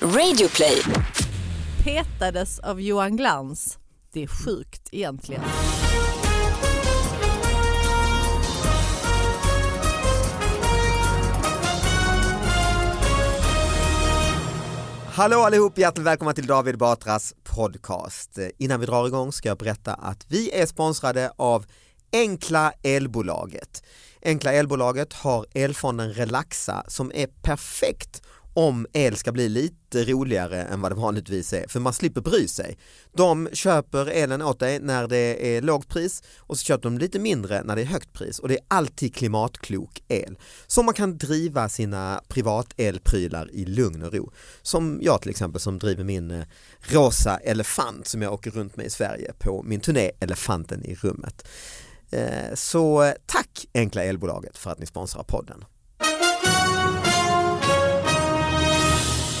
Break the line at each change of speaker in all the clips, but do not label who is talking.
Radioplay.
petades av Johan Glans. Det är sjukt egentligen.
Hallå allihop, hjärtligt välkomna till David Batras podcast. Eh, Innan vi drar igång ska jag berätta att vi är sponsrade av Enkla elbolaget. Enkla elbolaget har elfonden Relaxa som är perfekt om el ska bli lite roligare än vad det vanligtvis är, för man slipper bry sig. De köper elen åt dig när det är lågt pris och så köper de lite mindre när det är högt pris och det är alltid klimatklok el. Så man kan driva sina privatelprylar i lugn och ro. Som jag till exempel som driver min eh, rosa elefant som jag åker runt med i Sverige på min turné Elefanten i rummet. Eh, Så eh, tack Enkla Elbolaget för att ni sponsrar podden.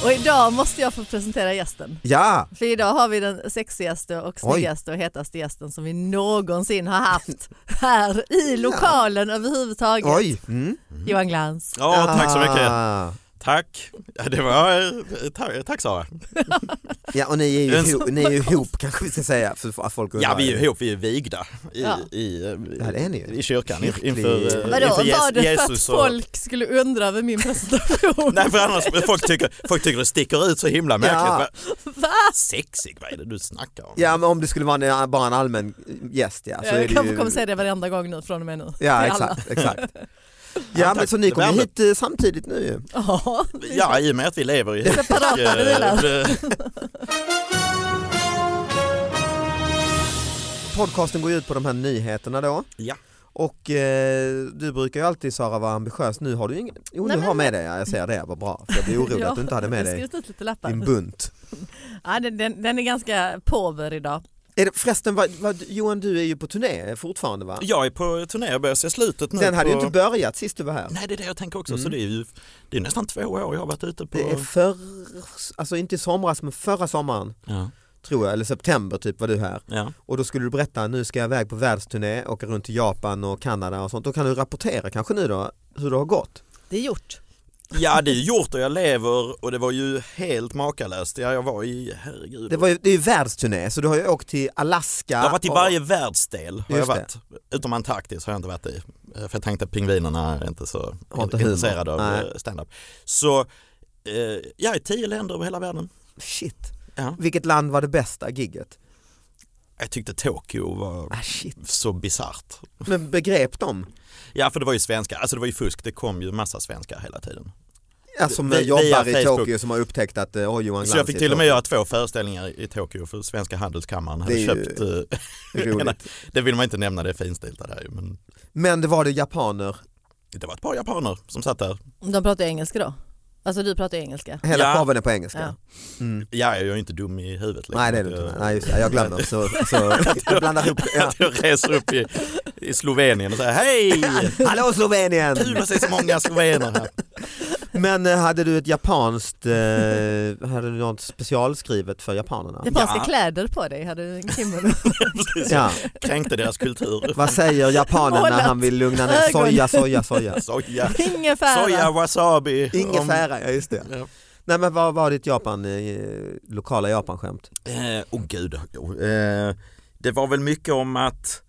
Och idag måste jag få presentera gästen.
Ja,
För idag har vi den sexigaste och
Oj.
snyggaste och hetaste gästen som vi någonsin har haft här i lokalen överhuvudtaget.
oj! Mm.
Johan Glans.
Ja, tack så mycket.
Ah.
Tack. Ja, Det var, eh, tack, tack Sara.
Ja, och ni är ju
En
ihop, ni är ju ihop kanske vi ska säga för att folk
Ja, vi är ju
undrar.
ihop, vi är vigda i,
Ja.
i,
Ja, det är ni ju.
i kyrkan inför,
Kyrklig-
inför, eh,
Vadå,
inför
var
Jes-
det för att
Jesus. och-
folk skulle undra över min presentation?
Nej, för annars folk tycker folk tycker det sticker ut så himla märkligt.
Va?
Sexig, vad är det du snackar om?
Ja, men om det skulle vara en, eh, bara en allmän gäst ja. Så är
jag
alltså, det
kanske
ju...
kommer säga det varenda gång nu från och med nu.
Ja,
Till
exakt. exakt. Ja,
Ja,
men
tack.
så ni
Det
kommer
blir
hit eh, samtidigt nu ju.
alla. Ja,
Ja, i och med att vi lever i
Separata
eh,
bilar.
det-
Podcasten går ju ut på de här nyheterna då.
Ja.
Och eh, du brukar ju alltid Sara vara ambitiös, nu har du ju ingen, jo
Nej,
du
men-
har med dig, ja, jag säger det, vad bra. För jag blev orolig
Ja,
att du inte hade
jag
med
har
dig
skrivit ut lite lappar.
din bunt.
Ja, den, den, den är ganska påver idag.
Är det, förresten, vad, vad, Johan du är ju på turné fortfarande va?
Jag är på turné och börjar se slutet nu.
Den hade ju
på...
inte börjat sist du var här.
Nej, det är det jag tänker också. Så
Mm.
det är ju det är nästan två år jag har varit ute på...
Det är för, alltså inte i somras men förra sommaren
Ja,
tror jag, eller september typ var du här.
ja.
Och då skulle du berätta, nu ska jag iväg på världsturné, åka runt till Japan och Kanada och sånt. Då kan du rapportera kanske nu då hur det har gått.
Det är gjort.
ja, det är gjort och jag lever och det var ju helt makalöst. Ja, jag var i, herregud.
Det, var ju, det är ju världsturné så du har ju åkt till Alaska.
Jag har varit i
och-
varje världsdel. Har jag
Just
varit. Utom Antarktis har jag inte varit i. Eh, För jag tänkte att pingvinerna är inte så
Har inte humor.
intresserade av
Nej.
eh, stand-up. Så eh, jag är i tio länder över hela världen.
Shit.
Ja.
Vilket land var det bästa gigget?
Jag tyckte Tokyo var
Ah, shit.
så bisarrt.
Men begrep de?
Ja för det var ju svenskar, alltså det var ju fusk, det kom ju massa svenskar hela tiden.
Alltså med
Via
jobbar i
Facebook.
Tokyo som har upptäckt att oh, Johan Glans
Så jag
är
fick
i
till och med
Tokyo.
göra två föreställningar i Tokyo för Svenska Handelskammaren hade
Det är ju
köpt, eh,
roligt.
det vill man inte nämna, det är finstilta där ju, men
Men det var det japaner,
det var ett par japaner som satt där.
De pratar ju engelska då? Alltså du pratar ju engelska?
hela
Ja.
showen är på engelska.
Ja.
Mm.
Ja, jag är ju inte dum i huvudet. liksom.
Nej det är det
Jag-
inte, nej just det, jag glömmer så, så jag blandar ihop det. ja.
att jag reser upp i, i Slovenien och säger hej!
Hallå Slovenien!
Kul att se så många slovener här.
Men eh, hade du ett japanskt, eh, hade du något specialskrivet för japanerna?
Japanska
Ja.
kläder på dig, hade du en kimono?
Precis,
Ja,
Kränkte deras kultur.
vad säger japanen när
Målat
han vill lugna ner?
ögon.
Soja, soja, soja.
Soja, soja
Ingefära.
wasabi.
Ingefära, ja just det.
Ja.
Nej men vad var ditt Japan, eh, lokala Japanskämt?
Åh eh, oh, gud. Eh, det var väl mycket om att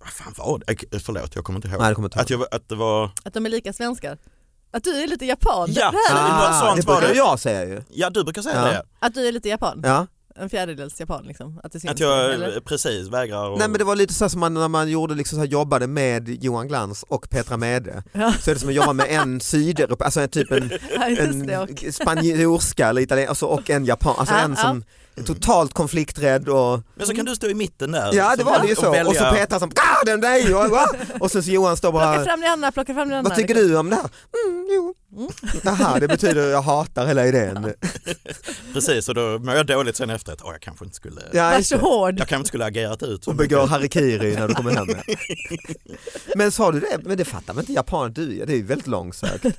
vad fan var det? Eh, Förlåt, jag kommer inte ihåg.
Nej det kommer inte
Att, jag, att det var...
Att de är lika svenskar? Att du är lite japan?
Ja.
Det här är-
Ah. något sånt
det
var
brukar
det.
jag säga ju.
Ja, du brukar säga
Ja.
det.
Att du är lite japan?
Ja.
En fjärdedels japan liksom? Att det syns?
Att jag
eller?
eh, precis vägrar och...
Nej men det var lite så här som man, när man gjorde liksom så här, jobbade med Johan Glans och Petra Mede.
Ja.
Så är det som att jobba med en sydeuropé, alltså en, typ en,
Ja, just
en
det. Och,
spanjorska eller italienska alltså, och en japan, alltså
Ja,
en som är totalt konflikträdd och
Men så kan du stå i mitten där.
Mm. Ja det var det ju så.
välja-
Och så Petra som ah, den där ju, va?" och sen så Johan står
plocka
bara
fram det andra, plocka fram det andra. liksom.
vad tycker du om det här? Mm, jo. Jaha, det betyder jag hatar hela idén.
Precis, och då mår jag dåligt sen efteråt. Åh, jag kanske inte skulle...
Ja,
Var
just
så
det.
hård.
Jag kanske inte skulle ha agerat ut. så
och
mycket.
begår harikiri när du kommer hem. Men sa du det? Men det fattar väl inte japaner du är? Det är ju väldigt långsökt.
Eh,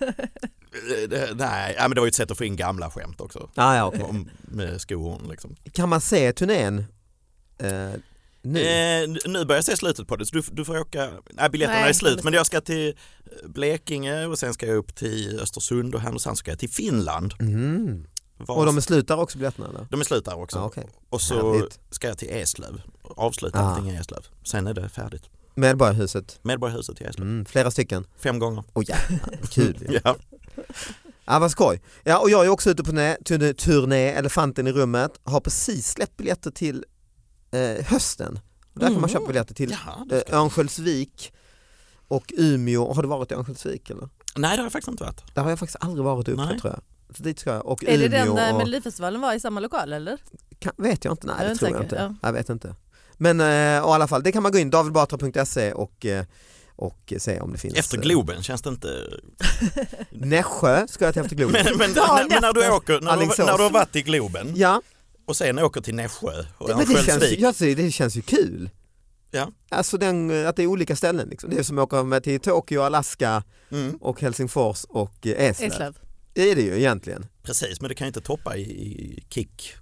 det- Nej, ja, men det var ju ett sätt att få in gamla skämt också.
Ah, ja, okej.
Om, med skohorn liksom.
Kan man se turnén eh, nu?
Eh, nu börjar jag se slutet på det så du, du får åka, nej biljetterna
Nej,
är
kommer-
slut men jag ska till eh, Blekinge och sen ska jag upp till Östersund och Härnösand så ska jag till Finland.
Mm.
Var...
Och de slutar också biljetterna eller?
de är slut där också.
Ja, okej.
Och så
Härligt.
ska jag till Eslöv, avsluta
Ah.
allting i Eslöv. Sen är det färdigt.
Medborgarhuset,
Medborgarhuset i Eslöv,
mm, flera stycken.
fem gånger.
Åh jävlar, kul ju.
Ja.
Ja vad skoj. Ja, och jag är också ute på turné, turné- turné Elefanten i rummet, har precis släppt biljetter till eh, hösten. Och där kan man
Mm.
köpa biljetter till
Jaha, det
eh,
ska...
Örnsköldsvik och Umeå. Har du varit i Örnsköldsvik eller?
Nej det har jag faktiskt inte varit.
Där har jag faktiskt aldrig varit uppe
Nej.
tror jag. Så dit ska jag. Och
Är det
Umeå
den där
och...
Melodifestivalen var i samma lokal eller?
Kan, vet jag inte, nej
Jag är
det
inte
tror jag inte.
säker,
Jag vet inte. Men eh, och i alla fall, det kan man gå in davidbatra.se och, eh, och se om det finns.
Efter
eh,
Globen känns det inte...
Nässjö ska jag till efter
Men,
Globen.
men, men,
Dagen
när, du
efter.
åker, när, du,
Alingsås.
när du har varit i Globen
Ja,
och sen åker till Nässjö och
men det känns,
Örnsköldsvik.
jag ser, det känns ju kul.
Ja.
Alltså den, eh, att det är olika ställen. Liksom. Det är som att åka med till Tokyo, Alaska
Mm,
och Helsingfors och eh, Eslöv.
Eslöv.
Det är det ju egentligen.
precis, men det kan ju inte toppa i, i kick.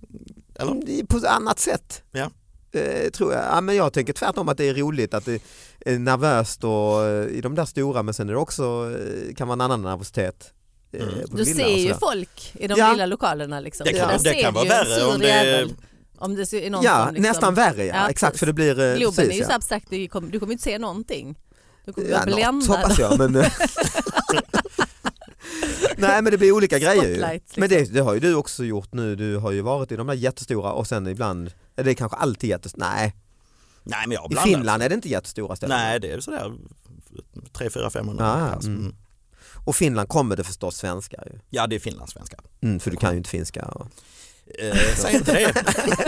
Eller?
Mm, det är På ett annat sätt.
Ja.
Eh, tror jag. Ja, men jag tänker tvärtom att det är roligt att det är nervöst och, eh, i de där stora men sen är det också, eh, kan vara en annan nervositet. eh,
Mm.
på de
Du
lilla
ser
och
ju
sådär.
folk i de
Ja.
lilla lokalerna. Liksom.
Det kan,
Så där
det
ser
kan vara
du ju en
värre om
sur
det
jävel. Om det ser någon
Ja,
som liksom,
nästan värre ja.
Ja,
Exakt för det blir... eh,
Globen är ju
ja.
så abstrakt, du kommer, du kommer inte se någonting. Du kommer
Ja,
ja,
något
bländad.
hoppas jag men... eh, Nej men det blir olika grejer ju.
Spotlight, liksom.
Men det, det har ju du också gjort nu, du har ju varit i de där jättestora och sen ibland, eller det är kanske alltid jättestora, nej
Nej men jag
i
blandar.
Finland är det inte jättestora ställen.
Nej det är sådär 3 4 500
Ah,
pass.
mm.
Mm.
Och Finland kommer det förstås svenskar ju.
Ja det är finlandssvenska.
Mm, för du kan ju inte finska. Och...
Eh, säg inte det.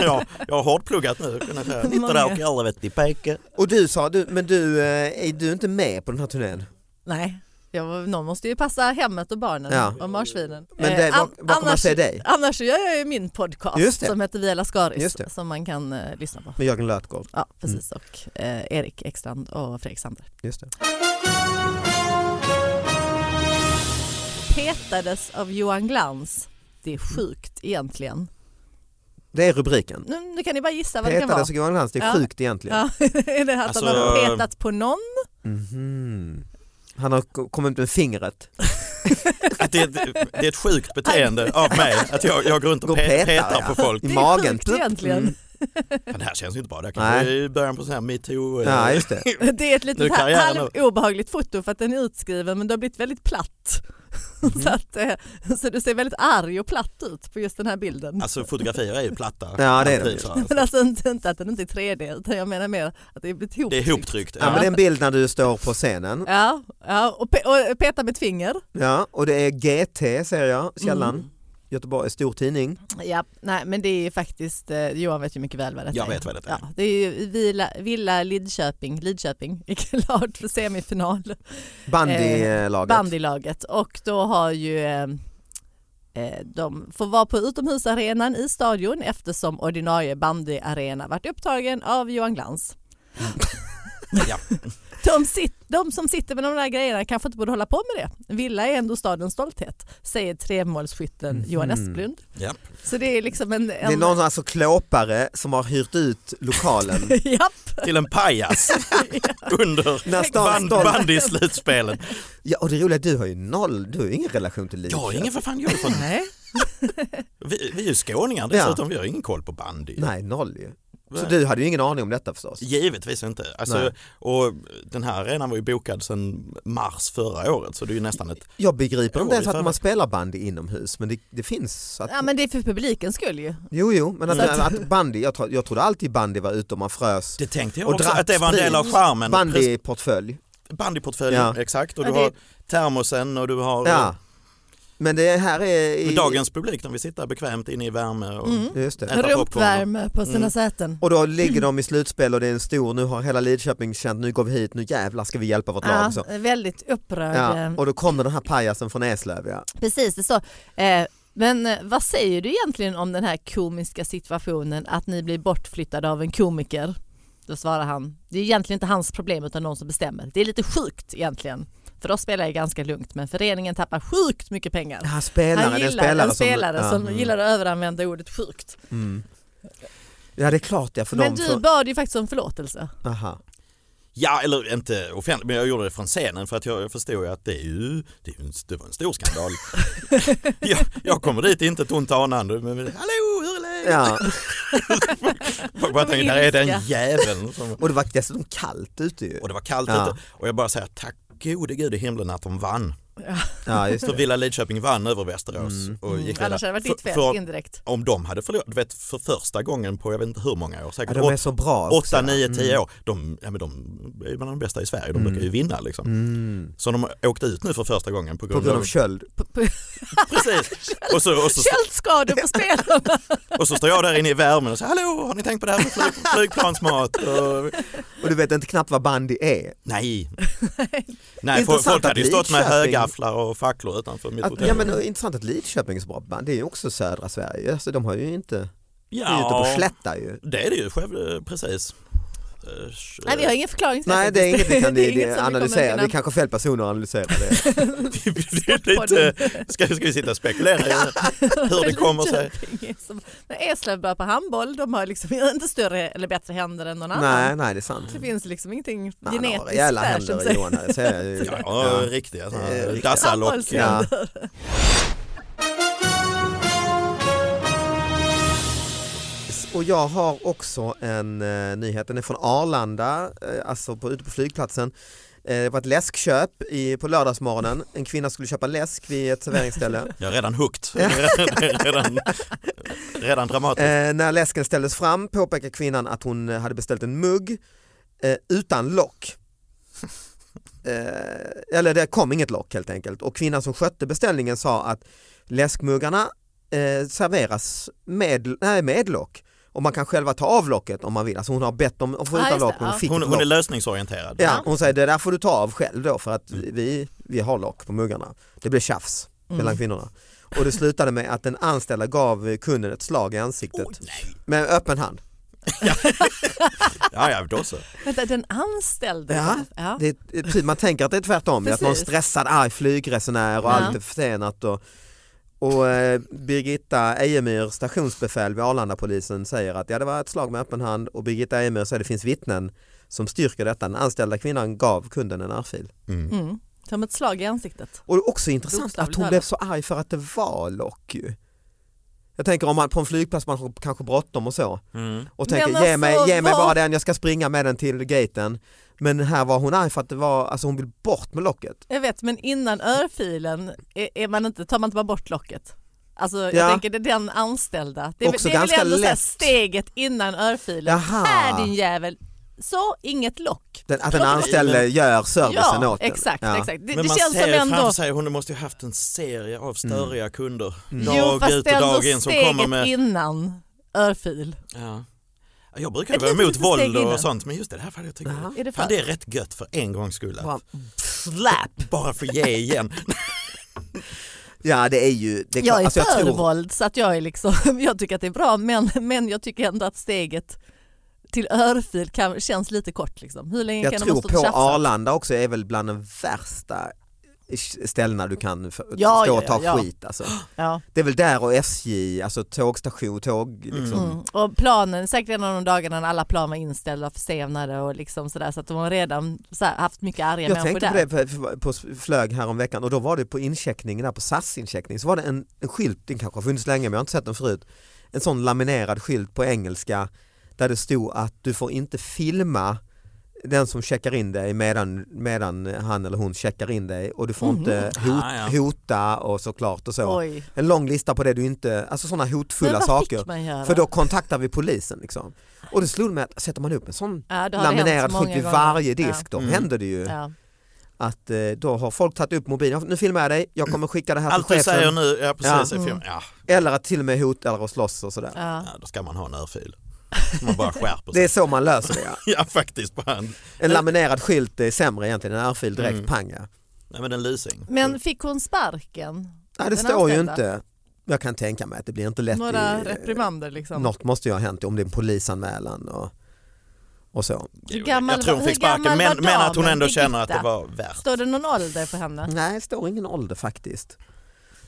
jag, jag har hårdpluggat nu. Kunnat säga, Inte där och i helvete i peke.
Och du sa, du, men du, eh, är du inte med på den här turnén?
Nej, jag, någon måste ju passa hemmet och barnen
Ja.
och marsvinen.
Men det,
Eh,
var,
an-
var kommer man
annars,
se dig?
annars gör jag ju min podcast
Just det.
som heter Via Lascaris
Just det. Mm.
som man kan eh, lyssna på.
Med Jörgen Lötgård,
Ja, precis. Och eh, Erik Ekstrand och Fredrik Sander.
just det.
Petades av Johan Glans. Det är sjukt egentligen.
Det är rubriken.
Nu, nu kan ni bara gissa vad det kan vara.
Petades och Johan Glans, det är
Ja.
sjukt egentligen.
Ja, är det att han har
Alltså-
petat på någon?
Mhm. Han har k- kommit med fingret.
Att det, är ett- det är ett sjukt beteende av mig att jag, jag går runt
Går
och
och petar,
pe- petar
ja.
på folk.
I
Det är
magen.
sjukt egentligen.
Mm.
Men det här känns ju inte bra. Det här kanske är början på sån här metoo. eh,
Ja, just det.
Det är ett
Nu
litet
kan
ha-
jag
halv obehagligt foto för att den är utskriven men det har blivit väldigt platt.
Mm.
så, att, eh, så du ser väldigt arg och platt ut på just den här bilden.
Alltså fotografier är ju platta.
Ja, det är
Alltid
det.
så.
men alltså inte, inte att den inte är 3D utan jag menar mer att det är blivit
Det är
ihoptryckt.
ihoptryckt.
Ja, men det är en bild när du står på scenen.
Ja, ja och, pe- och peta med ett finger.
Ja, och det är GT ser jag, källan.
Mm.
Göteborg, stor tidning.
Ja, nej men det är faktiskt, eh, Johan vet ju mycket väl vad detta
Jag
är.
vet vad detta är.
Ja, det är ju Villa, Villa Lidköping, Lidköping är klart för semifinal.
Bandylaget.
Eh, bandylaget och då har ju eh, eh, de får vara på utomhusarenan i stadion eftersom ordinarie bandyarena varit upptagen av Johan Glans.
Ja.
De, sit, de som sitter med de där grejerna kanske inte borde hålla på med det. Villa är ändå stadens stolthet, säger tremålsskytten Johan Esplund.
Ja.
Så det är liksom en...
Mhm. Det är
en
någon alltså klåpare som har hyrt ut lokalen.
Japp,
Till en pajas under
När
band,
stan stolt.
bandy-slutspelen.
Ja, och det roliga är att du har ju noll, du har ju ingen relation till
Jag har
Lidköping.
ingen, för fan, jag är från,
nej.
vi, vi är ju skåningar dessutom, vi har ingen koll på bandy.
Nej, noll ju. Så
Nej.
du hade ju ingen aning om detta förstås.
Givetvis inte. Alltså,
Nej.
och den här arenan var ju bokad sedan mars förra året så det är ju nästan ett...
Jag begriper inte
Jo,
ens
det
att
är
man spelar bandy inomhus, men det, det finns. Att,
Ja men det är för publikens skull ju.
Jo, jo, men att,
Så att-
att bandy, jag, tro- jag trodde alltid bandy var ute och man frös.
Det tänkte jag
Och
också
drack
att det var en del av charmen. Precis,
Bandyportfölj.
Bandyportföljen,
Ja.
exakt. Och
Ja,
du
det-
har termosen och du har...
Ja. Men det här är...
Med
I,
dagens publik, när vi sitter bekvämt inne i värme och
Mm.
Just det.
Äta popcorn.
Rumpvärme på sina
Mm.
säten.
Och då ligger de i slutspel och det är en stor, nu har hela Lidköping känt nu går vi hit, nu jävlar ska vi hjälpa vårt
Ja,
lag. Så.
väldigt upprörd. eh,
Ja, och då kommer den här pajasen från Eslöv. Ja.
Precis, det står. Eh, men eh, vad säger du egentligen om den här komiska situationen att ni blir bortflyttade av en komiker? Då svarar han, det är egentligen inte hans problem utan någon som bestämmer. Det är lite sjukt egentligen. För oss spelar jag ganska lugnt men föreningen tappar sjukt mycket pengar.
Den här spelaren,
han
det är
gillar
en spelare,
en spelare som,
ja, mm,
gillar att överanvända ordet sjukt.
mm. ja det är klart ja, för
men
dem.
du
För,
bad ju faktiskt om förlåtelse.
aha.
Ja, eller inte offentligt, men jag gjorde det från scenen för att jag jag förstod ju att det, är ju, det, är ju en, det var en stor skandal. jag, jag kommer dit inte ett ont anande, men men, hallå, hur är läget?
Ja.
Jag bara tänkte, där är den jäveln. Som...
Och det var dessutom kallt ute ju.
Och det var kallt
Ja.
ute och jag bara säger tack gode gud i himlen att de vann.
Ja, just
Så
det.
Villa Lidköping vann över Västerås
Mm.
och gick vidare.
Annars hade det varit ditt
För-
fel
för-
indirekt.
Om de hade förlorat, du vet för första gången på jag vet inte hur många år,
Ja,
säkert
de är
åt-
så bra också.
åtta, nio, tio
Mm.
år, de, ja, men de är bland de bästa i Sverige, de
Mm.
brukar ju vinna liksom.
Mm.
Så de åkte ut nu för första gången på
På
grund,
grund av
av...
köld.
P- p-
Precis! Och så, och, så,
Köldskador på spelarna.
och så står jag där inne i värmen och säger hallå, har ni tänkt på det här med flyg, flygplansmat? Och,
Och du vet inte knappt vad bandy är.
nej! nej,
Intressant
folk folk
att
hade ju stått med
Lidköping-
högafflar och facklor utanför mitt
Att,
hotell.
ja, men, det är intressant att Lidköping är så bra på bandy. Det är ju också södra Sverige. Alltså, de har ju inte... De är ute på slätta ju.
det är det ju, Skövde, precis. Eh,
Nej vi har ingen förklaring till
Nej det är inget vi kan
Det är inget som vi kommer
analysera,
kunna-
vi kanske är fel personer att analysera det.
det är lite, ska, ska vi sitta och spekulera i hur det kommer sig?
Lidköping är som- Men Eslöv bra på handboll, de har liksom inte större eller bättre händer än någon annan.
nej, nej det är sant.
Det finns liksom ingenting
Man har
genetiskt
rejäla
där som
händer
säger
Johan, det säger jag ju.
Ja,
Ja.
riktiga
Det är
sådana
riktiga
dassalock.
handbollshänder.
Ja. Och jag har också en eh, nyhet, den är från Arlanda, eh, alltså på, ute på flygplatsen. Eh, det var ett läskköp i, på lördagsmorgonen, en kvinna skulle köpa läsk vid ett serveringsställe.
Jag är redan hooked. redan, redan dramatiskt.
Eh, när läsken ställdes fram påpekade kvinnan att hon eh, hade beställt en mugg eh, utan lock. Eh, eller det kom inget lock helt enkelt och kvinnan som skötte beställningen sa att läskmuggarna eh, serveras med, nej, med lock och man kan själva ta av locket om man vill. Alltså hon har bett om att få
Ah,
utan
just
lock
det,
men hon
ja.
fick
Hon,
ett
hon är
lock.
lösningsorienterad.
Ja, hon säger det där får du ta av själv då för att vi, vi har lock på muggarna. Det blev tjafs mellan kvinnorna. Och det slutade med att den anställda gav eh, kunden ett slag i ansiktet.
Oj, nej.
Med öppen hand.
Ja, ja, då så.
Vänta, den anställde?
Ja,
ja.
Det är, typ, man tänker att det är tvärtom, att någon
Precis.
stressad arg flygresenär och
Ja.
allt är försenat. Och, och eh, Birgitta Ejemyr, stationsbefäl vid Arlandapolisen säger att ja, det var ett slag med öppen hand och Birgitta Ejemyr säger att det finns vittnen som styrker detta. Den anställda kvinnan gav kunden en örfil.
Mm. Som ett slag i ansiktet.
Och det är också intressant att
Bokstavligt
hon
talat.
blev så arg för att det var lock ju. Jag tänker om man på en flygplats man har kanske bråttom och så
Mm.
och tänker
Men
ge, mig,
alltså,
ge mig
vad-
bara den, jag ska springa med den till gaten. Men här var hon arg för att det var, alltså hon vill bort med locket.
Jag vet, men innan örfilen är, är man inte, tar man inte bara bort locket? Alltså,
Ja.
jag tänker det är den anställda. Det är,
Också
det är
ganska
väl ändå så här
lätt.
steget innan örfilen.
Jaha.
Här din jävel, så inget lock.
Den, att den
Ja,
anställde gör servicen
Ja,
åt den.
exakt.
Ja.
exakt. Det,
Men
det
man
känns som
ser framför
ändå...
sig, hon måste ju haft en serie
Mm.
av störiga kunder.
Jo,
Dag
fast
ut
det är
och
ändå
dag in som kommer
steget
med...
innan örfil.
Ja. Jag brukar ju
Ett
vara
litet
emot
litet steg
våld och
innan.
sånt, men just det, det här fallet jag tycker
Jaha.
Är det
Fan,
för?
det är rätt gött för en gångs skull. att
Wow.
Slap!
Bara få ge igen.
Ja det är ju, det är klart,
Jag är
alltså,
för
jag tror,
våld så att jag är liksom, jag tycker att det är bra men, men jag tycker ändå att steget till örfil kan, känns lite kort liksom. Hur länge
jag
kan
tror
de stå och
på
tjafsa?
Arlanda också är väl bland de värsta ställena du kan f-
Ja,
stå
ja,
och ta
ja, ja.
skit. Alltså.
Ja.
Det är väl där och SJ, alltså tågstation, tåg. Liksom.
Mm. Och planen, säkert en av de dagarna när alla plan var inställda, försenade och liksom sådär så att de har redan så här, haft mycket arga
Jag
människor
tänkte
där.
på det på, på flög häromveckan och då var det på incheckning där på SAS-incheckning så var det en, en skylt, den kanske har funnits länge men jag har inte sett den förut. En sån laminerad skylt på engelska där det stod att du får inte filma den som checkar in dig medan, medan han eller hon checkar in dig och du får
Mhm.
inte hot,
Ah, ja.
hota och såklart och så.
Oj,
En lång lista på det du inte, alltså sådana
men
hotfulla
vad
saker.
fick man göra?
För då kontaktar vi polisen liksom. Och det slog mig att sätter man upp en sån
ja, då har det hänt
laminerad
många
skylt vid
gånger.
varje disk då
Mm.
händer det ju
Ja.
att eh, då har folk tagit upp mobilen, nu filmar jag dig, jag kommer skicka det här
Allt
till
du
chefen. Mm.
säger nu, ja precis.
Ja.
Ja. Ja,
Eller att till och med hota eller att slåss och sådär.
Ja.
ja, då ska man ha en örfil. Man bara skärper
Det
sig.
är så man löser det ja.
Ja faktiskt. Bara en,
En laminerad skylt är sämre egentligen, en örfil direkt,
Mm.
pang ja.
nej, men en lysing.
Men fick hon sparken?
Nej det
Den
står ju
anställda.
inte, jag kan tänka mig att det blir inte lätt.
Några
i, eh,
reprimander liksom?
något måste ju ha hänt om det är en polisanmälan och, och så.
Hur
Jo,
gammal
jag tror
var-
hon
hur
fick sparken
gammal
men,
var
men att hon
damen,
ändå känner att
Birgitta?
det var värt.
Står det någon ålder på henne?
Nej det står ingen ålder faktiskt.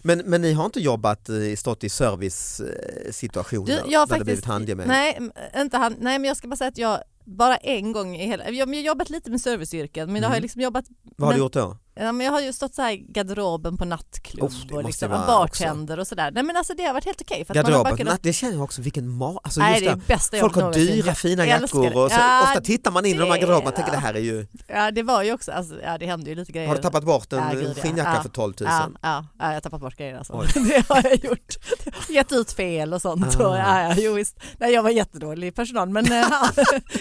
Men, men ni har inte jobbat, eh, i- stått i servicesituationer
Du, jag har
där det blivit
faktiskt-
handgemäng?
Nej, m- inte han, nej, men jag ska bara säga att jag bara en gång i hela, jag jag har jobbat lite med serviceyrken men jag har
Mm.
liksom jobbat,
Vad har
Men-
du gjort då?
ja, men jag har ju stått så här i garderoben på nattklubb
Uff, Oh, det
och
måste
liksom,
vara
och bartender och sådär. Nej men alltså det har varit helt okej. för att man har bara
Garderoben,
kunnat-
det känner jag också, vilken ma... Alltså
Nej
just
det är
det,
det bästa
folk
jobbet
har
någonsin.
dyra fina
jag älskar
jackor och så,
det. Ja,
ofta tittar man in i de här
det-
garderoberna och tänker det här är ju,
Ja det var ju också, alltså, ja, det hände ju lite grejer.
har du tappat bort
Ja,
en
gud, ja.
skinnjacka
Ja.
för 12 000?
Ja, ja, ja, jag har tappat bort grejer alltså.
Oj.
Det har jag gjort. Gett ut fel och sånt.
Ah.
Och, ja, ja, jo, visst. Nej, jag var jättedålig personal men eh,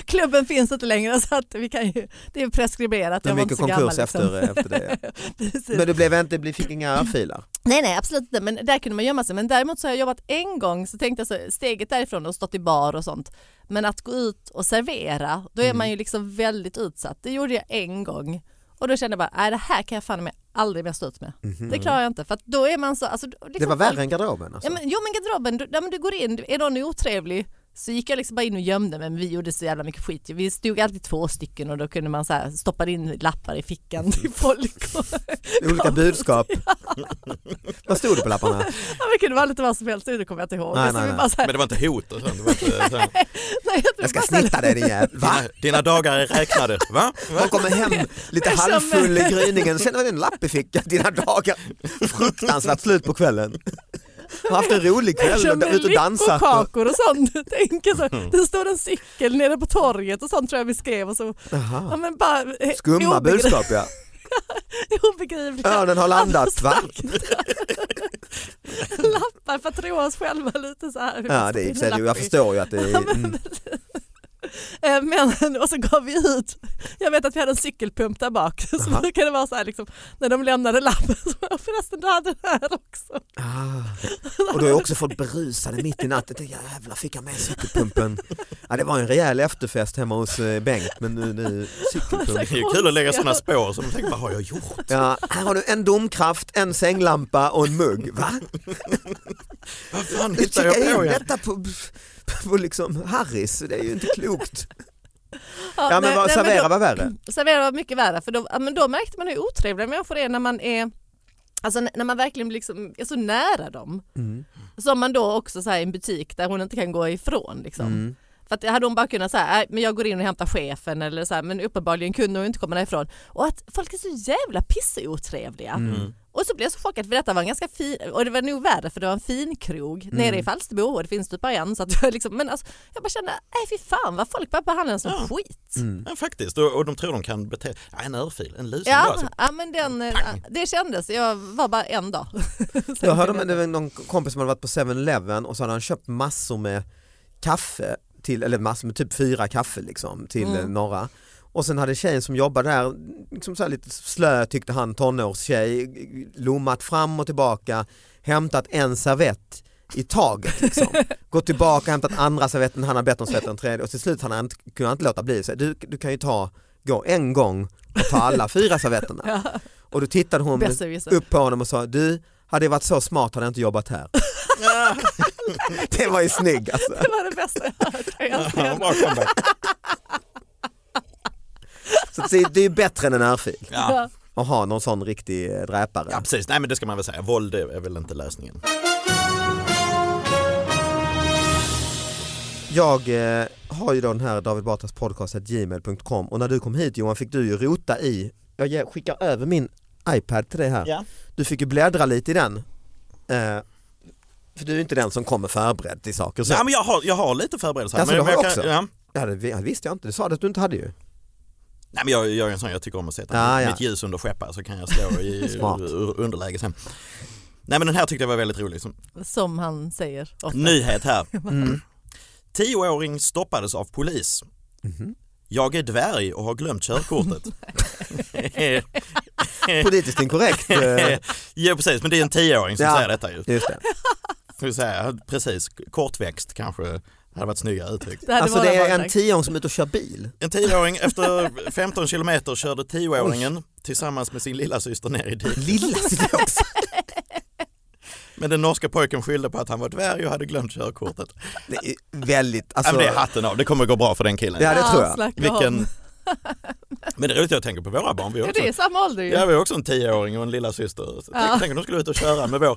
klubben finns inte längre så att vi kan ju, det är preskriberat.
Det är
Jag var
mycket
inte så
konkurs
gammal, liksom. Typ.
efter, efter det.
Precis.
Men du blev inte, du fick inga örfilar?
Nej, nej, absolut inte. Men där kunde man gömma sig. Men däremot så har jag jobbat en gång så tänkte jag så, steget därifrån och stått i bar och sånt. Men att gå ut och servera, då är
Mm.
man ju liksom väldigt utsatt. Det gjorde jag en gång och då kände jag bara, nej det här kan jag fan med aldrig mer stå ut med.
Mhm.
Det klarar jag inte för att då är man så, alltså, liksom
Det var
folk-
värre än garderoben alltså?
Ja, men, jo men garderoben, du, ja, men du går in, är någon otrevlig så gick jag liksom bara in och gömde mig men vi gjorde så jävla mycket skit. Vi stod alltid två stycken och då kunde man så här stoppa in lappar i fickan till folk. Och,
Olika budskap? Vad stod det på lapparna?
ja, men det kunde vara lite vad som helst, det kommer jag inte ihåg.
Nej,
så
nej,
vi
nej.
bara så här,
Men det var inte hot och sånt. Det var inte, så här,
nej,
Jag ska
bara så här-
snitta dig din jävel. Va?
dina, dina dagar är räknade. Va? Va?
Man kommer hem lite
Det är som-
halvfull i gryningen, sen har du en lapp i fickan, dina dagar. Fruktansvärt slut på kvällen. Har haft en rolig kväll,
Som
ute och Mm. dansat. och-
kakor och sånt. Tänker så. Det stod en cykel nere på torget och sånt tror jag vi skrev. Och så. Ja,
Jaha.
men bara, eh,
Skumma
obegri-
budskap ja.
Obegripliga
Örnen har landat va?
lappar för att roa oss själva lite så här.
Ja, det är, i och för sig- jag förstår ju att det är... Mm.
Eh, Men, och så gav vi ut, jag vet att vi hade en cykelpump där bak, så
Aha.
brukade det vara så här liksom, när de lämnade lappen, så bara, förresten du hade den här också.
Ah. Och då är också folk berusade mitt i natten. Tänkte, Jävlar, fick jag med cykelpumpen? Ja, det var en rejäl efterfest hemma hos eh, Bengt, men nu, nu cykelpump.
Det är ju kul att lägga sådana spår som man tänker, vad har jag gjort?
Ja, här har du en domkraft, en sänglampa och en mugg. Va?
Vad fan
Hur
hittar
trycker jag
jag
in
på? Jag?
detta på, på liksom Harris? Det är ju inte klokt.
Ja,
Ja,
nej,
men vad,
nej, men
servera
då- Mm.
var värre.
servera var mycket värre för då, ja, men då märkte man hur otrevliga människor är när man är Alltså n- när man verkligen liksom är så nära dem.
Mm.
Som man då också så här, i en butik där hon inte kan gå ifrån. Liksom.
Mm.
För att hade hon bara kunnat säga, "Nej, men jag går in och hämtar chefen eller så här, men uppenbarligen kunde hon inte komma därifrån. Och att folk är så jävla pissotrevliga.
Mm.
Och så blev jag så chockad för detta var en ganska fin, och det var nog värre för det var en fin krog
Mm.
nere i Falsterbo och det finns typ bara en. Så att jag, liksom, men alltså, jag bara kände, nej fy fan vad folk bara behandlar en som
Ja.
skit.
Mm.
Ja, faktiskt, och, och de tror de kan bete ja, En örfil, en lusing.
Ja,
bara så.
ja men den, eh, det kändes. Jag var bara en dag. Sen
Jag hörde om
blev
en- det var någon kompis som hade varit på 7-Eleven och så hade han köpt massor med kaffe, till, eller massor med typ fyra kaffe liksom till
Mm.
eh, några. Och sen hade tjejen som jobbade där, liksom så här lite slö tyckte han, tonårstjej, lommat fram och tillbaka, hämtat en servett i taget. Liksom. Gått tillbaka, hämtat andra servetten, han har bett om servetten, tredje och till slut han hade inte, kunde han inte låta bli. Så, här, du, du kan ju ta, gå en gång och ta alla fyra servetterna. Och då tittade hon
besserwisser.
upp på honom och sa du hade jag varit så smart hade jag inte jobbat här. det var ju snygg alltså.
Det var det bästa jag hört. Jag älskar
Ja,
det.
bra comeback.
Så att det är- det är ju bättre än en örfil
Ja.
att ha någon sån riktig eh, dräpare.
ja, precis. Nej, men det ska man väl säga. Våld är väl inte lösningen.
Jag eh, har ju då den här David Batras podcast at gmail.com och när du kom hit Johan fick du ju rota i, jag ger- skickar över min iPad till dig här.
Ja.
Du fick ju bläddra lite i den. Eh, för du är ju inte den som kommer förberedd till saker. Så.
Ja, men jag, har, jag har lite förberedelser.
Alltså,
men,
du har
men jag
också?
ja.
Ja, det vi- ja, det visste jag inte, du sa det att du inte hade ju.
Nej, men jag, jag är en sån, jag tycker om att sätta
Ja, ja.
mitt ljus under skeppar så kan jag slå i
Smart.
ur- underläge sen. Nej men den här tyckte jag var väldigt rolig. Som,
Som han säger ofta.
nyhet här.
Mm.
Tioåring stoppades av polis.
Mhm.
Jag är dvärg och har glömt körkortet.
Politiskt inkorrekt. eh,
ja precis, men det är en tioåring som
Ja.
säger detta ju.
Just det.
Får vi säga, precis, kortväxt kanske hade varit snyggare uttryckt.
Det hade
Alltså
bara
det
varit
är en
sagt.
tion som är ute och kör bil.
En tioåring efter 15 kilometer körde tioåringen tillsammans med sin lilla syster ner i diket.
Lilla sitter jag också.
Men den norska pojken skyllde på att han var dvärg och hade glömt körkortet.
Alltså-
Det är väldigt,
Ja,
alltså,
men det är hatten av, det kommer gå bra för den killen.
Ja, det tror
Ah,
jag.
snacka om.
Vilken, Men det är roligt, jag tänker på våra barn. Vi har
Ja,
också,
det är samma ålder ju.
ja, vi har också en tioåring och en lilla syster. Så
Ja.
Tänk om de skulle ut och köra med vår,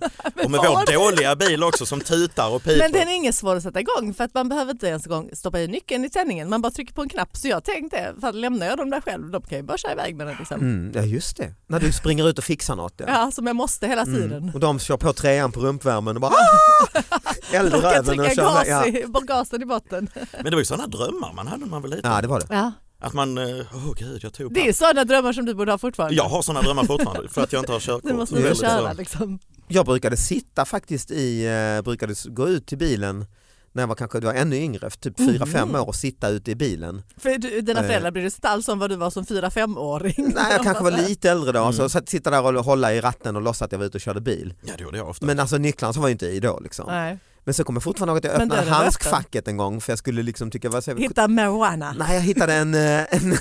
och med
vad?
vår dåliga bil också som tutar och piper.
Men den är ingen svår att sätta igång för att man behöver inte ens en gång stoppa i nyckeln i tändningen. Man bara trycker på en knapp. Så jag tänkte, fan, lämnar jag dem där själv, de kan ju bara köra iväg med den. Liksom.
Mm, ja just det, när du springer ut och fixar något. Ja.
Ja, som jag måste hela tiden.
Mm. Och de kör på trean på rumpvärmen och bara "Ah!" Eld i
De kan
röven och
trycka
kör
gas
iväg. ja.
i, bara gasen i botten.
Men det var ju sådana drömmar man hade när man var liten.
ja det var det.
Ja.
Att man, eh, åh gud jag tog
Det är sådana drömmar som du borde ha fortfarande.
Jag har sådana drömmar fortfarande för att jag inte har körkort.
Du måste
Det
börja
är väldigt
köra
bra.
liksom.
Jag brukade sitta faktiskt i, eh, brukade s- gå ut till bilen när jag var kanske, det var ännu yngre, typ fyra fem
Mm.
år och sitta ute i bilen.
För du, dina
Eh.
föräldrar brydde sig inte alls om vad du var som 4-5-åring.
Nej jag kanske var lite äldre då,
Mm.
så satt- sitta där och hålla i ratten och låtsas att jag var ute och körde bil.
Ja det gjorde jag ofta.
Men alltså nycklarna så var ju inte i då liksom.
Nej.
Men så kommer jag fortfarande ihåg att jag
Men
öppnade
dörren var
handskfacket en gång för jag skulle liksom tycka, vad säger vi?
Hitta marijuana.
Nej, jag hittade en, eh, en,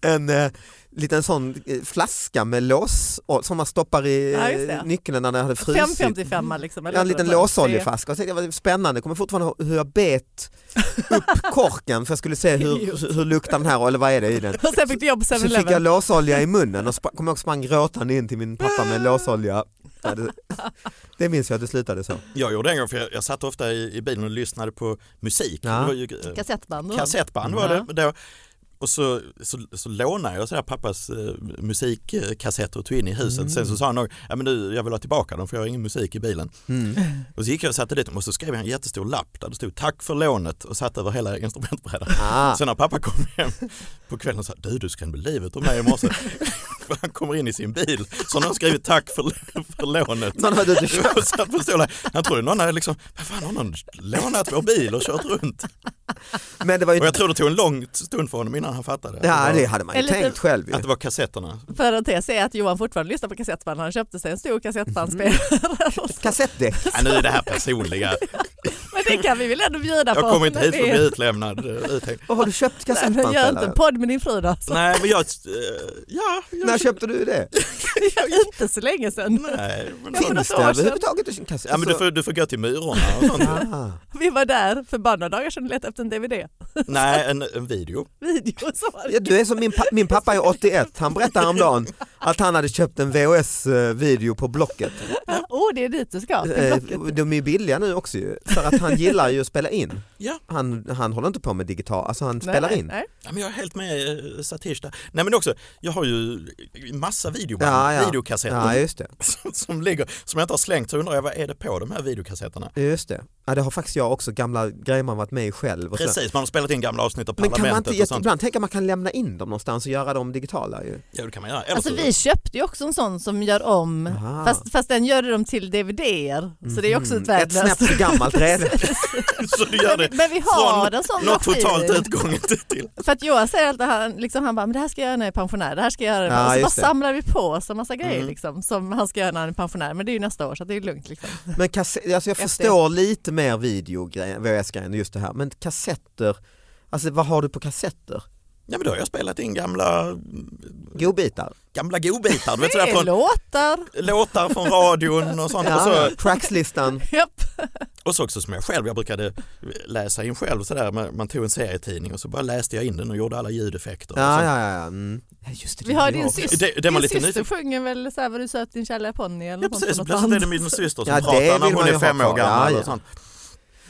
en, eh, liten sån eh, flaska med lås och- som man stoppar i
Ja, just det.
eh, nyckeln när den hade frusit.
555 liksom. eller
Ja, en
vad det
liten
var.
låsoljeflaska. Och så tänkte jag, vad Spännande, jag kommer fortfarande ihåg hur jag bet upp korken för jag skulle se hur, hur luktar den här eller vad är det i den.
Och sen fick du jobb på
Så fick jag
7-Eleven.
låsolja i munnen och sp- kom ihåg sprang gråtande in till min pappa med låsolja. Ja, det- Det minns jag att det slutade så.
Jag gjorde en gång för jag, jag satt ofta i, i bilen och lyssnade på musik.
Ja.
Det var ju, eh,
Kassettband.
Mm.
och-
kassettband var det då. Och så, så, så lånade jag så här pappas eh, musikkassetter och tog in i huset. Sen så sa han nog, ja men du jag vill ha tillbaka dem för jag har ingen musik i bilen.
Mm.
Och så gick jag och satte dit dem och så skrev jag en jättestor lapp där det stod tack för lånet och satt över hela instrumentbrädan.
Ah.
Sen när pappa kom hem på kvällen och sa du du skrämde livet ur mig i morse. För han kommer in i sin bil så han har skrivit tack för, för lånet.
Någon hade inte kört.
Och satt på stolen. Han trodde någon hade liksom, vad fan har någon lånat vår bil och kört runt?
Men det var ju
Och jag tror det tog en lång stund för honom innan han fattade.
Ja
att, det
det hade man ju
En liten-
tänkt själv ju.
var, att det var kassetterna.
Parentes är att Johan fortfarande lyssnar på kassettband. Han köpte sig en stor kassettbandspelare.
Kassettdäck.
Ja, nu är det här personliga.
Men det kan vi väl ändå bjuda på.
Jag kommer inte hit för att
Det är-
bli utlämnad. eh, uthängd.
Och har du köpt
Nej, men Gör inte en
kassettbandspelare?
podd med din fru då. Så
Nej men jag, eh, ja. Jag,
När köpte du det?
inte så länge sedan.
Nej, men,
Ja, men
Finns
något
det Alltså-
år sedan.
överhuvudtaget en kassett?
ja, men du, får, du får gå till Myrorna och sånt.
Ah.
Vi var där för bara några dagar sedan och letade efter en DVD-video.
Nej, en, en video.
Så var
Ja,
det.
du är som min, pa- min pappa är 81, han berättade häromdagen att han hade köpt en VHS-video på Blocket.
Åh, det är dit du ska. Till
Eh,
Blocket.
De är ju billiga nu också ju, för att han gillar ju att spela in.
Ja.
Han, han håller inte på med digital, alltså han spelar
Nej,
in.
nej.
Ja, men jag är helt med eh, Satish där. Nej men också, jag har ju massa videoband,
Ja, ja.
videokassetter
Ja just det,
som, som ligger, som jag inte har slängt så undrar jag vad är det på de här videokassetterna?
just det. Ja, det har faktiskt jag också, gamla grejer man varit med i själv. Och sådär.
Precis, man har spelat in gamla avsnitt av
Men kan man
Parlamentet
inte
och
jätte-
sånt.
ibland tänka att man kan lämna in dem någonstans och göra dem digitala ju?
Ja det kan man göra. Eller
Alltså
så-
vi köpte ju också en sån som gör om,
Aha.
fast, fast den gör de till DVD-er. Så det är också ett
Mm, Ett snäpp
värdelöst.
för gammalt redan.
så du gör det
Men vi har en sån
från något
maskin.
totalt utgånget till.
För att Johan säger alltid, han, liksom, han bara, men det här ska jag göra när jag är pensionär, det här ska jag göra.
Ja,
och så bara
just det.
samlar vi på oss en massa grejer
Mm.
liksom, som han ska göra när han är pensionär. Men det är ju nästa år så det är lugnt. Liksom.
Men kassett, alltså jag
Efter.
förstår lite mer videogrejen, VHS-grejen just det här, men kassetter, alltså vad har du på kassetter?
Ja men då har jag spelat in gamla,
Godbitar?
gamla godbitar, du vet
Det är
sådär från
låtar.
låtar från radion och sånt. Och så,
Ja,
alltså-
Trackslistan,
Japp.
Och så också som jag själv, jag brukade läsa in själv sådär, man man tog en serietidning och så bara läste jag in den och gjorde alla ljudeffekter. och
ja
sånt.
ja ja. Mm. Ja, Just det,
Vi
det
har
är
din
jag.
syster,
Det- det var
din
lite
syster
nyfiken.
sjunger väl så här var du söt din kära ponny eller
Ja
något
precis,
sånt.
plötsligt är det min syster som
Ja, det
pratar
vill
när
man
hon
ju
är
ha
fem
kvar.
år
Ja,
gammal. Och
ja.
sånt.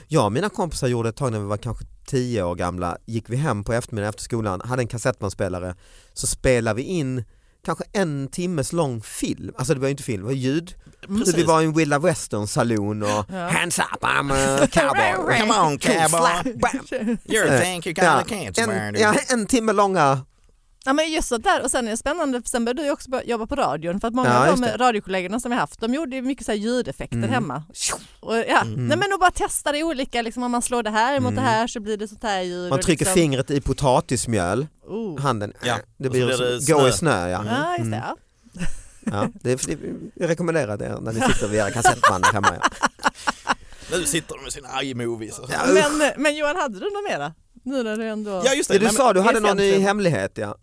Jag och mina kompisar gjorde ett tag när vi var kanske tio år gamla, gick vi hem på eftermiddagen efter skolan, hade en kassettbandspelare, så spelade vi in kanske en timmes lång film, alltså det var ju inte film, det var ljud.
Precis.
Vi var i en Willa Western saloon och
Ja.
hands up I'm a cowboy.
Oh, Come on cowboy,
Slap, bam.
you
Eh,
think you
Ja,
got a cancer
en,
man.
ja, en timme långa,
Ja men just sånt där och sen är det spännande, för sen började du ju också börja jobba på radion för att många
Ja,
av
just
de
det. Mm.
radiokollegorna som vi haft de gjorde ju mycket så här ljudeffekter hemma. Och, ja. Nej men och bara testa det olika, liksom, om man slår det här mot det här så blir det sånt här ljud.
Mm. man
och
trycker
liksom,
fingret i potatismjöl,
Oh.
handen, eh,
Ja,
det
och
blir,
så blir det
som, gå
snö.
i snö. Ja.
Mm.
Ja just det, ja.
Ja, det är, det- jag rekommenderar det när ni sitter vid era kassettband hemma. Ja.
Nu sitter de med sina iMovies. och sånt.
Ja, usch.
Men, men Johan, hade du något mera? Nu när du ändå...
Ja just det,
Det du
nej,
sa, du hade
det är
någon i
sant.
hemlighet ja.
men,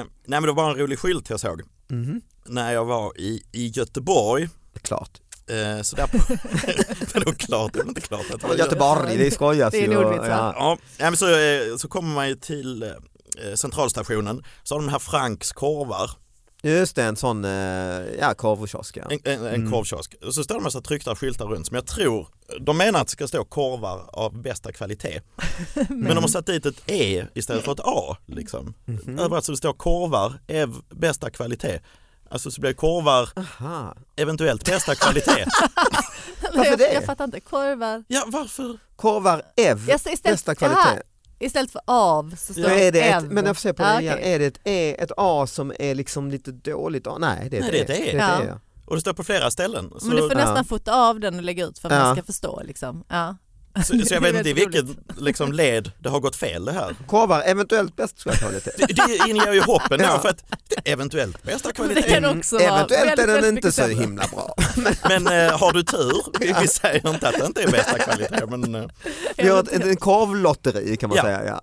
eh, nej men det var en rolig skylt jag såg
Mhm,
när jag var i, i Göteborg.
Klart.
Eh, så där på, det var klart, det var inte klart att det var
Göteborg, det skojas
Det är
ju.
en ordvits, va?
ja.
Ja, nej, men så, eh, så kommer man ju till eh, eh, centralstationen så har de här Franks korvar,
Just det, en sån eh, ja, korvkiosk. Ja.
en, en, en korvkiosk. Och så står det en massa tryckta skyltar runt som jag tror, de menar att det ska stå korvar av bästa kvalitet. Men de har satt dit ett E istället för ett A. Liksom. Överallt så det står korvar av bästa kvalitet. Alltså så blir korvar
Aha.
eventuellt bästa kvalitet.
Varför det?
Jag, jag fattar inte, korvar.
Ja, varför?
Korvar ev,
Jag säger istället-
bästa
Jaha,
kvalitet.
Istället för av så står
Men är det ett,
ev.
men jag får se på
Ja,
det igen,
okej.
är det ett, e, ett A som är liksom lite dåligt? A? Nej, det är
Nej,
ett
det är
E.
ett E.
Det är ett
Ja.
e, ja.
Och det står på flera ställen. Så,
Men du får
Ja.
nästan fota av den och lägga ut för att
Ja.
man ska förstå liksom. Ja.
så, så jag
Det är
vet inte i
väldigt
vilket liksom, led det har gått fel det här.
Korvar, eventuellt bästa kvalitet.
Det, det inger ju hoppen då
Ja.
för att det är eventuellt bästa
Men det
kvalitet.
kan också vara
Mm, Eventuellt är
väldigt,
den
väldigt
inte
mycket
så
sämre.
himla bra.
Men eh, har du tur, vi, vi säger inte att det inte är bästa kvalitet men eh,
Vi har ett, en korvlotteri kan man
Ja.
säga. Ja.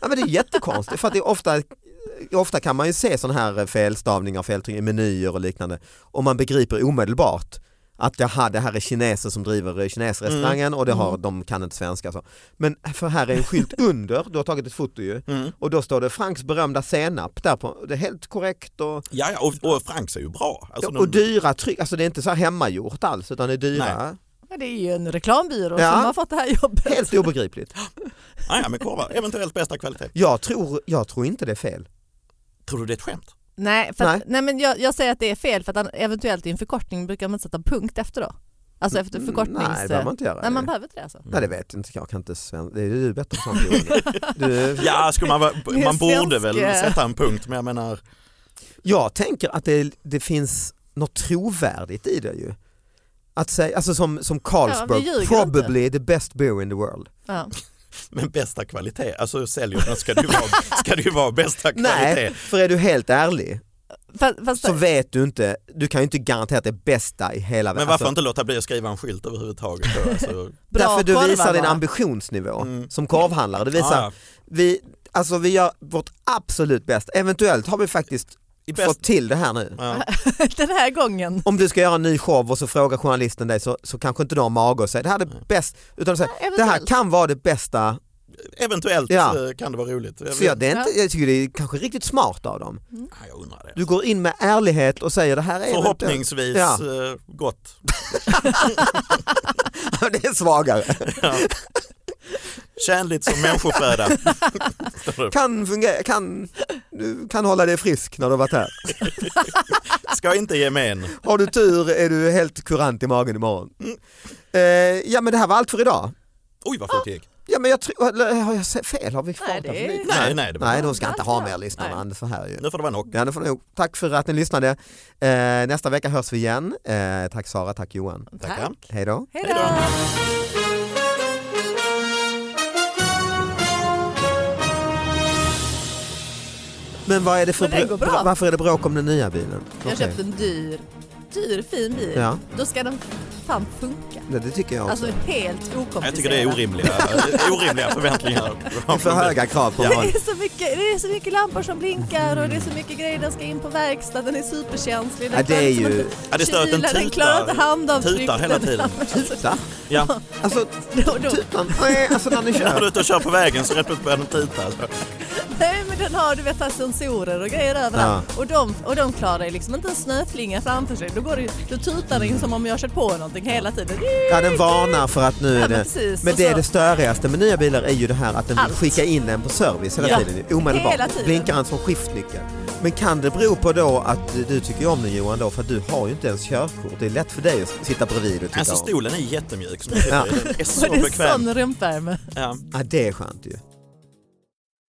ja men det är jättekonstigt för att det är ofta Ofta kan man ju se sådana här felstavningar, feltryck i menyer och liknande och man begriper omedelbart att jaha, det här är kineser som driver kinesrestaurangen
Mm.
och det har, de kan inte svenska. Så. Men för här är en skylt under, du har tagit ett foto ju,
mm.
och då står det Franks berömda senap där på. Det är helt korrekt och,
ja, ja, och, och Franks är ju bra. Alltså, de-
och dyra tryck, alltså det är inte så här hemmagjort alls utan det är dyra.
Ja, det är ju en reklambyrå
Ja.
som har fått det här jobbet.
Helt obegripligt.
Ah, ja, men korvar, eventuellt bästa kvalitet.
Jag tror, jag tror inte det är fel.
Tror du det är ett skämt?
Nej, för att,
Nej.
nej. men jag, jag säger att det är fel för att an- eventuellt i en förkortning brukar man sätta punkt efter då. Alltså efter
Mm,
förkortnings...
Nej, det behöver man inte göra.
Nej, man behöver inte det alltså.
Nej det vet jag inte, jag kan inte svenska. Det är du bättre på sånt Johan. du,
Ja, skulle man, vara-
är
man borde väl
svenska.
sätta en punkt men jag menar,
Jag tänker att det, det finns något trovärdigt i det ju. Att säga, alltså som, som Carlsberg,
Ja, vi ljuger
probably the best beer in the world.
Ja.
men bästa kvalitet, alltså säljer den ska det ju vara, ska det ju vara bästa kvalitet.
Nej, för är du helt ärlig
Fast, fast,
så vet du inte, du kan ju inte garantera att det är bästa i hela
Alltså-
Men
världen. Alltså,
varför inte låta bli att skriva en skylt överhuvudtaget då? Alltså,
bra
därför
korvar
du visar din
bara.
ambitionsnivå
Mm.
som korvhandlare. Du visar,
ja, ja.
vi, alltså vi gör vårt absolut bästa. Eventuellt har vi faktiskt
I bäst,
fått till det här nu.
ja.
Den här gången.
om du ska göra en ny show och så frågar journalisten dig så, så kanske inte de har mage och säger det här är det bäst, utan säger det här
eventuellt.
kan vara det bästa.
Eventuellt
Ja.
eh, kan det vara roligt. Jag,
Så jag, det är inte, jag tycker det är kanske riktigt smart av dem.
Ja, jag undrar det.
Du går in med ärlighet och säger det här är eventuellt.
Förhoppningsvis
Ja.
eh, gott.
det är svagare.
Ja. Tjänligt som människoföda.
Kan fungera, kan, du kan hålla dig frisk när du har varit här.
Ska inte ge men.
Har du tur är du helt kurant i magen imorgon.
Mm.
Eh, ja men det här var allt för idag.
Oj vad fort det gick.
Ja men jag tror, eller har jag sett fel? Har vi kvar
Nej,
det för
det är-
lite?
Nej, nej, det var
Nej,
bra.
de ska inte ha mer
Nej.
lyssnarna, så här ju.
Nu får det vara nog.
Ja, det får ni nog. Tack för att ni lyssnade. Eh, nästa vecka hörs vi igen. Eh, tack Sara, tack Johan.
Tackar.
Hej då.
Hej
Hej då.
då.
Men vad är det för
Men det går bra.
varför är det bråk om den nya bilen?
Jag
Okej.
köpte en dyr, dyr fin bil.
Ja.
Då ska den fan funka.
Nej, det tycker jag också.
Alltså helt okomplicerat.
Jag tycker det är orimliga, eh, orimliga förväntningar.
för höga krav på
Det
ja.
är, så mycket, det är så mycket lampor som blinkar och det är så mycket grejer den ska in på verkstad. Den är superkänslig. Den
Ja, det är
klarar liksom
ju-
inte
Ja, det står att den
kyla, Den klarar
tutar,
inte handavtryck.
tutar hela tiden.
Tuta?
Ja.
Alltså,
Då, då.
tutan? Nej, alltså när ni
När du är
kör.
ute och kör på vägen så rätt upp börjar den tuta. alltså.
Nej men den har du vet så här sensorer och grejer överallt. Och, de, och de klarar ju liksom inte en snöflinga framför sig. Då, går det, då tutar den ju som om jag kört på någonting hela tiden.
Ja, den varnar för att nu
Ja,
är
men
det...
precis.
Men
Och
det är
så-
det störigaste med nya bilar är ju det här att den vill
Allt.
skicka in den på service hela
Ja.
tiden. Omedelbart.
Hela tiden.
Blinkar han som skiftnyckel. Men kan det bero på då att du tycker om den Johan då för att du har ju inte ens körkort. Det är lätt för dig att sitta bredvid och titta
Alltså
om.
stolen är jättemjuk som jag sitter
Ja.
i. Den är
Och
så
det är
bekväm.
sån rumpvärme.
Ja.
Ja, det är skönt ju.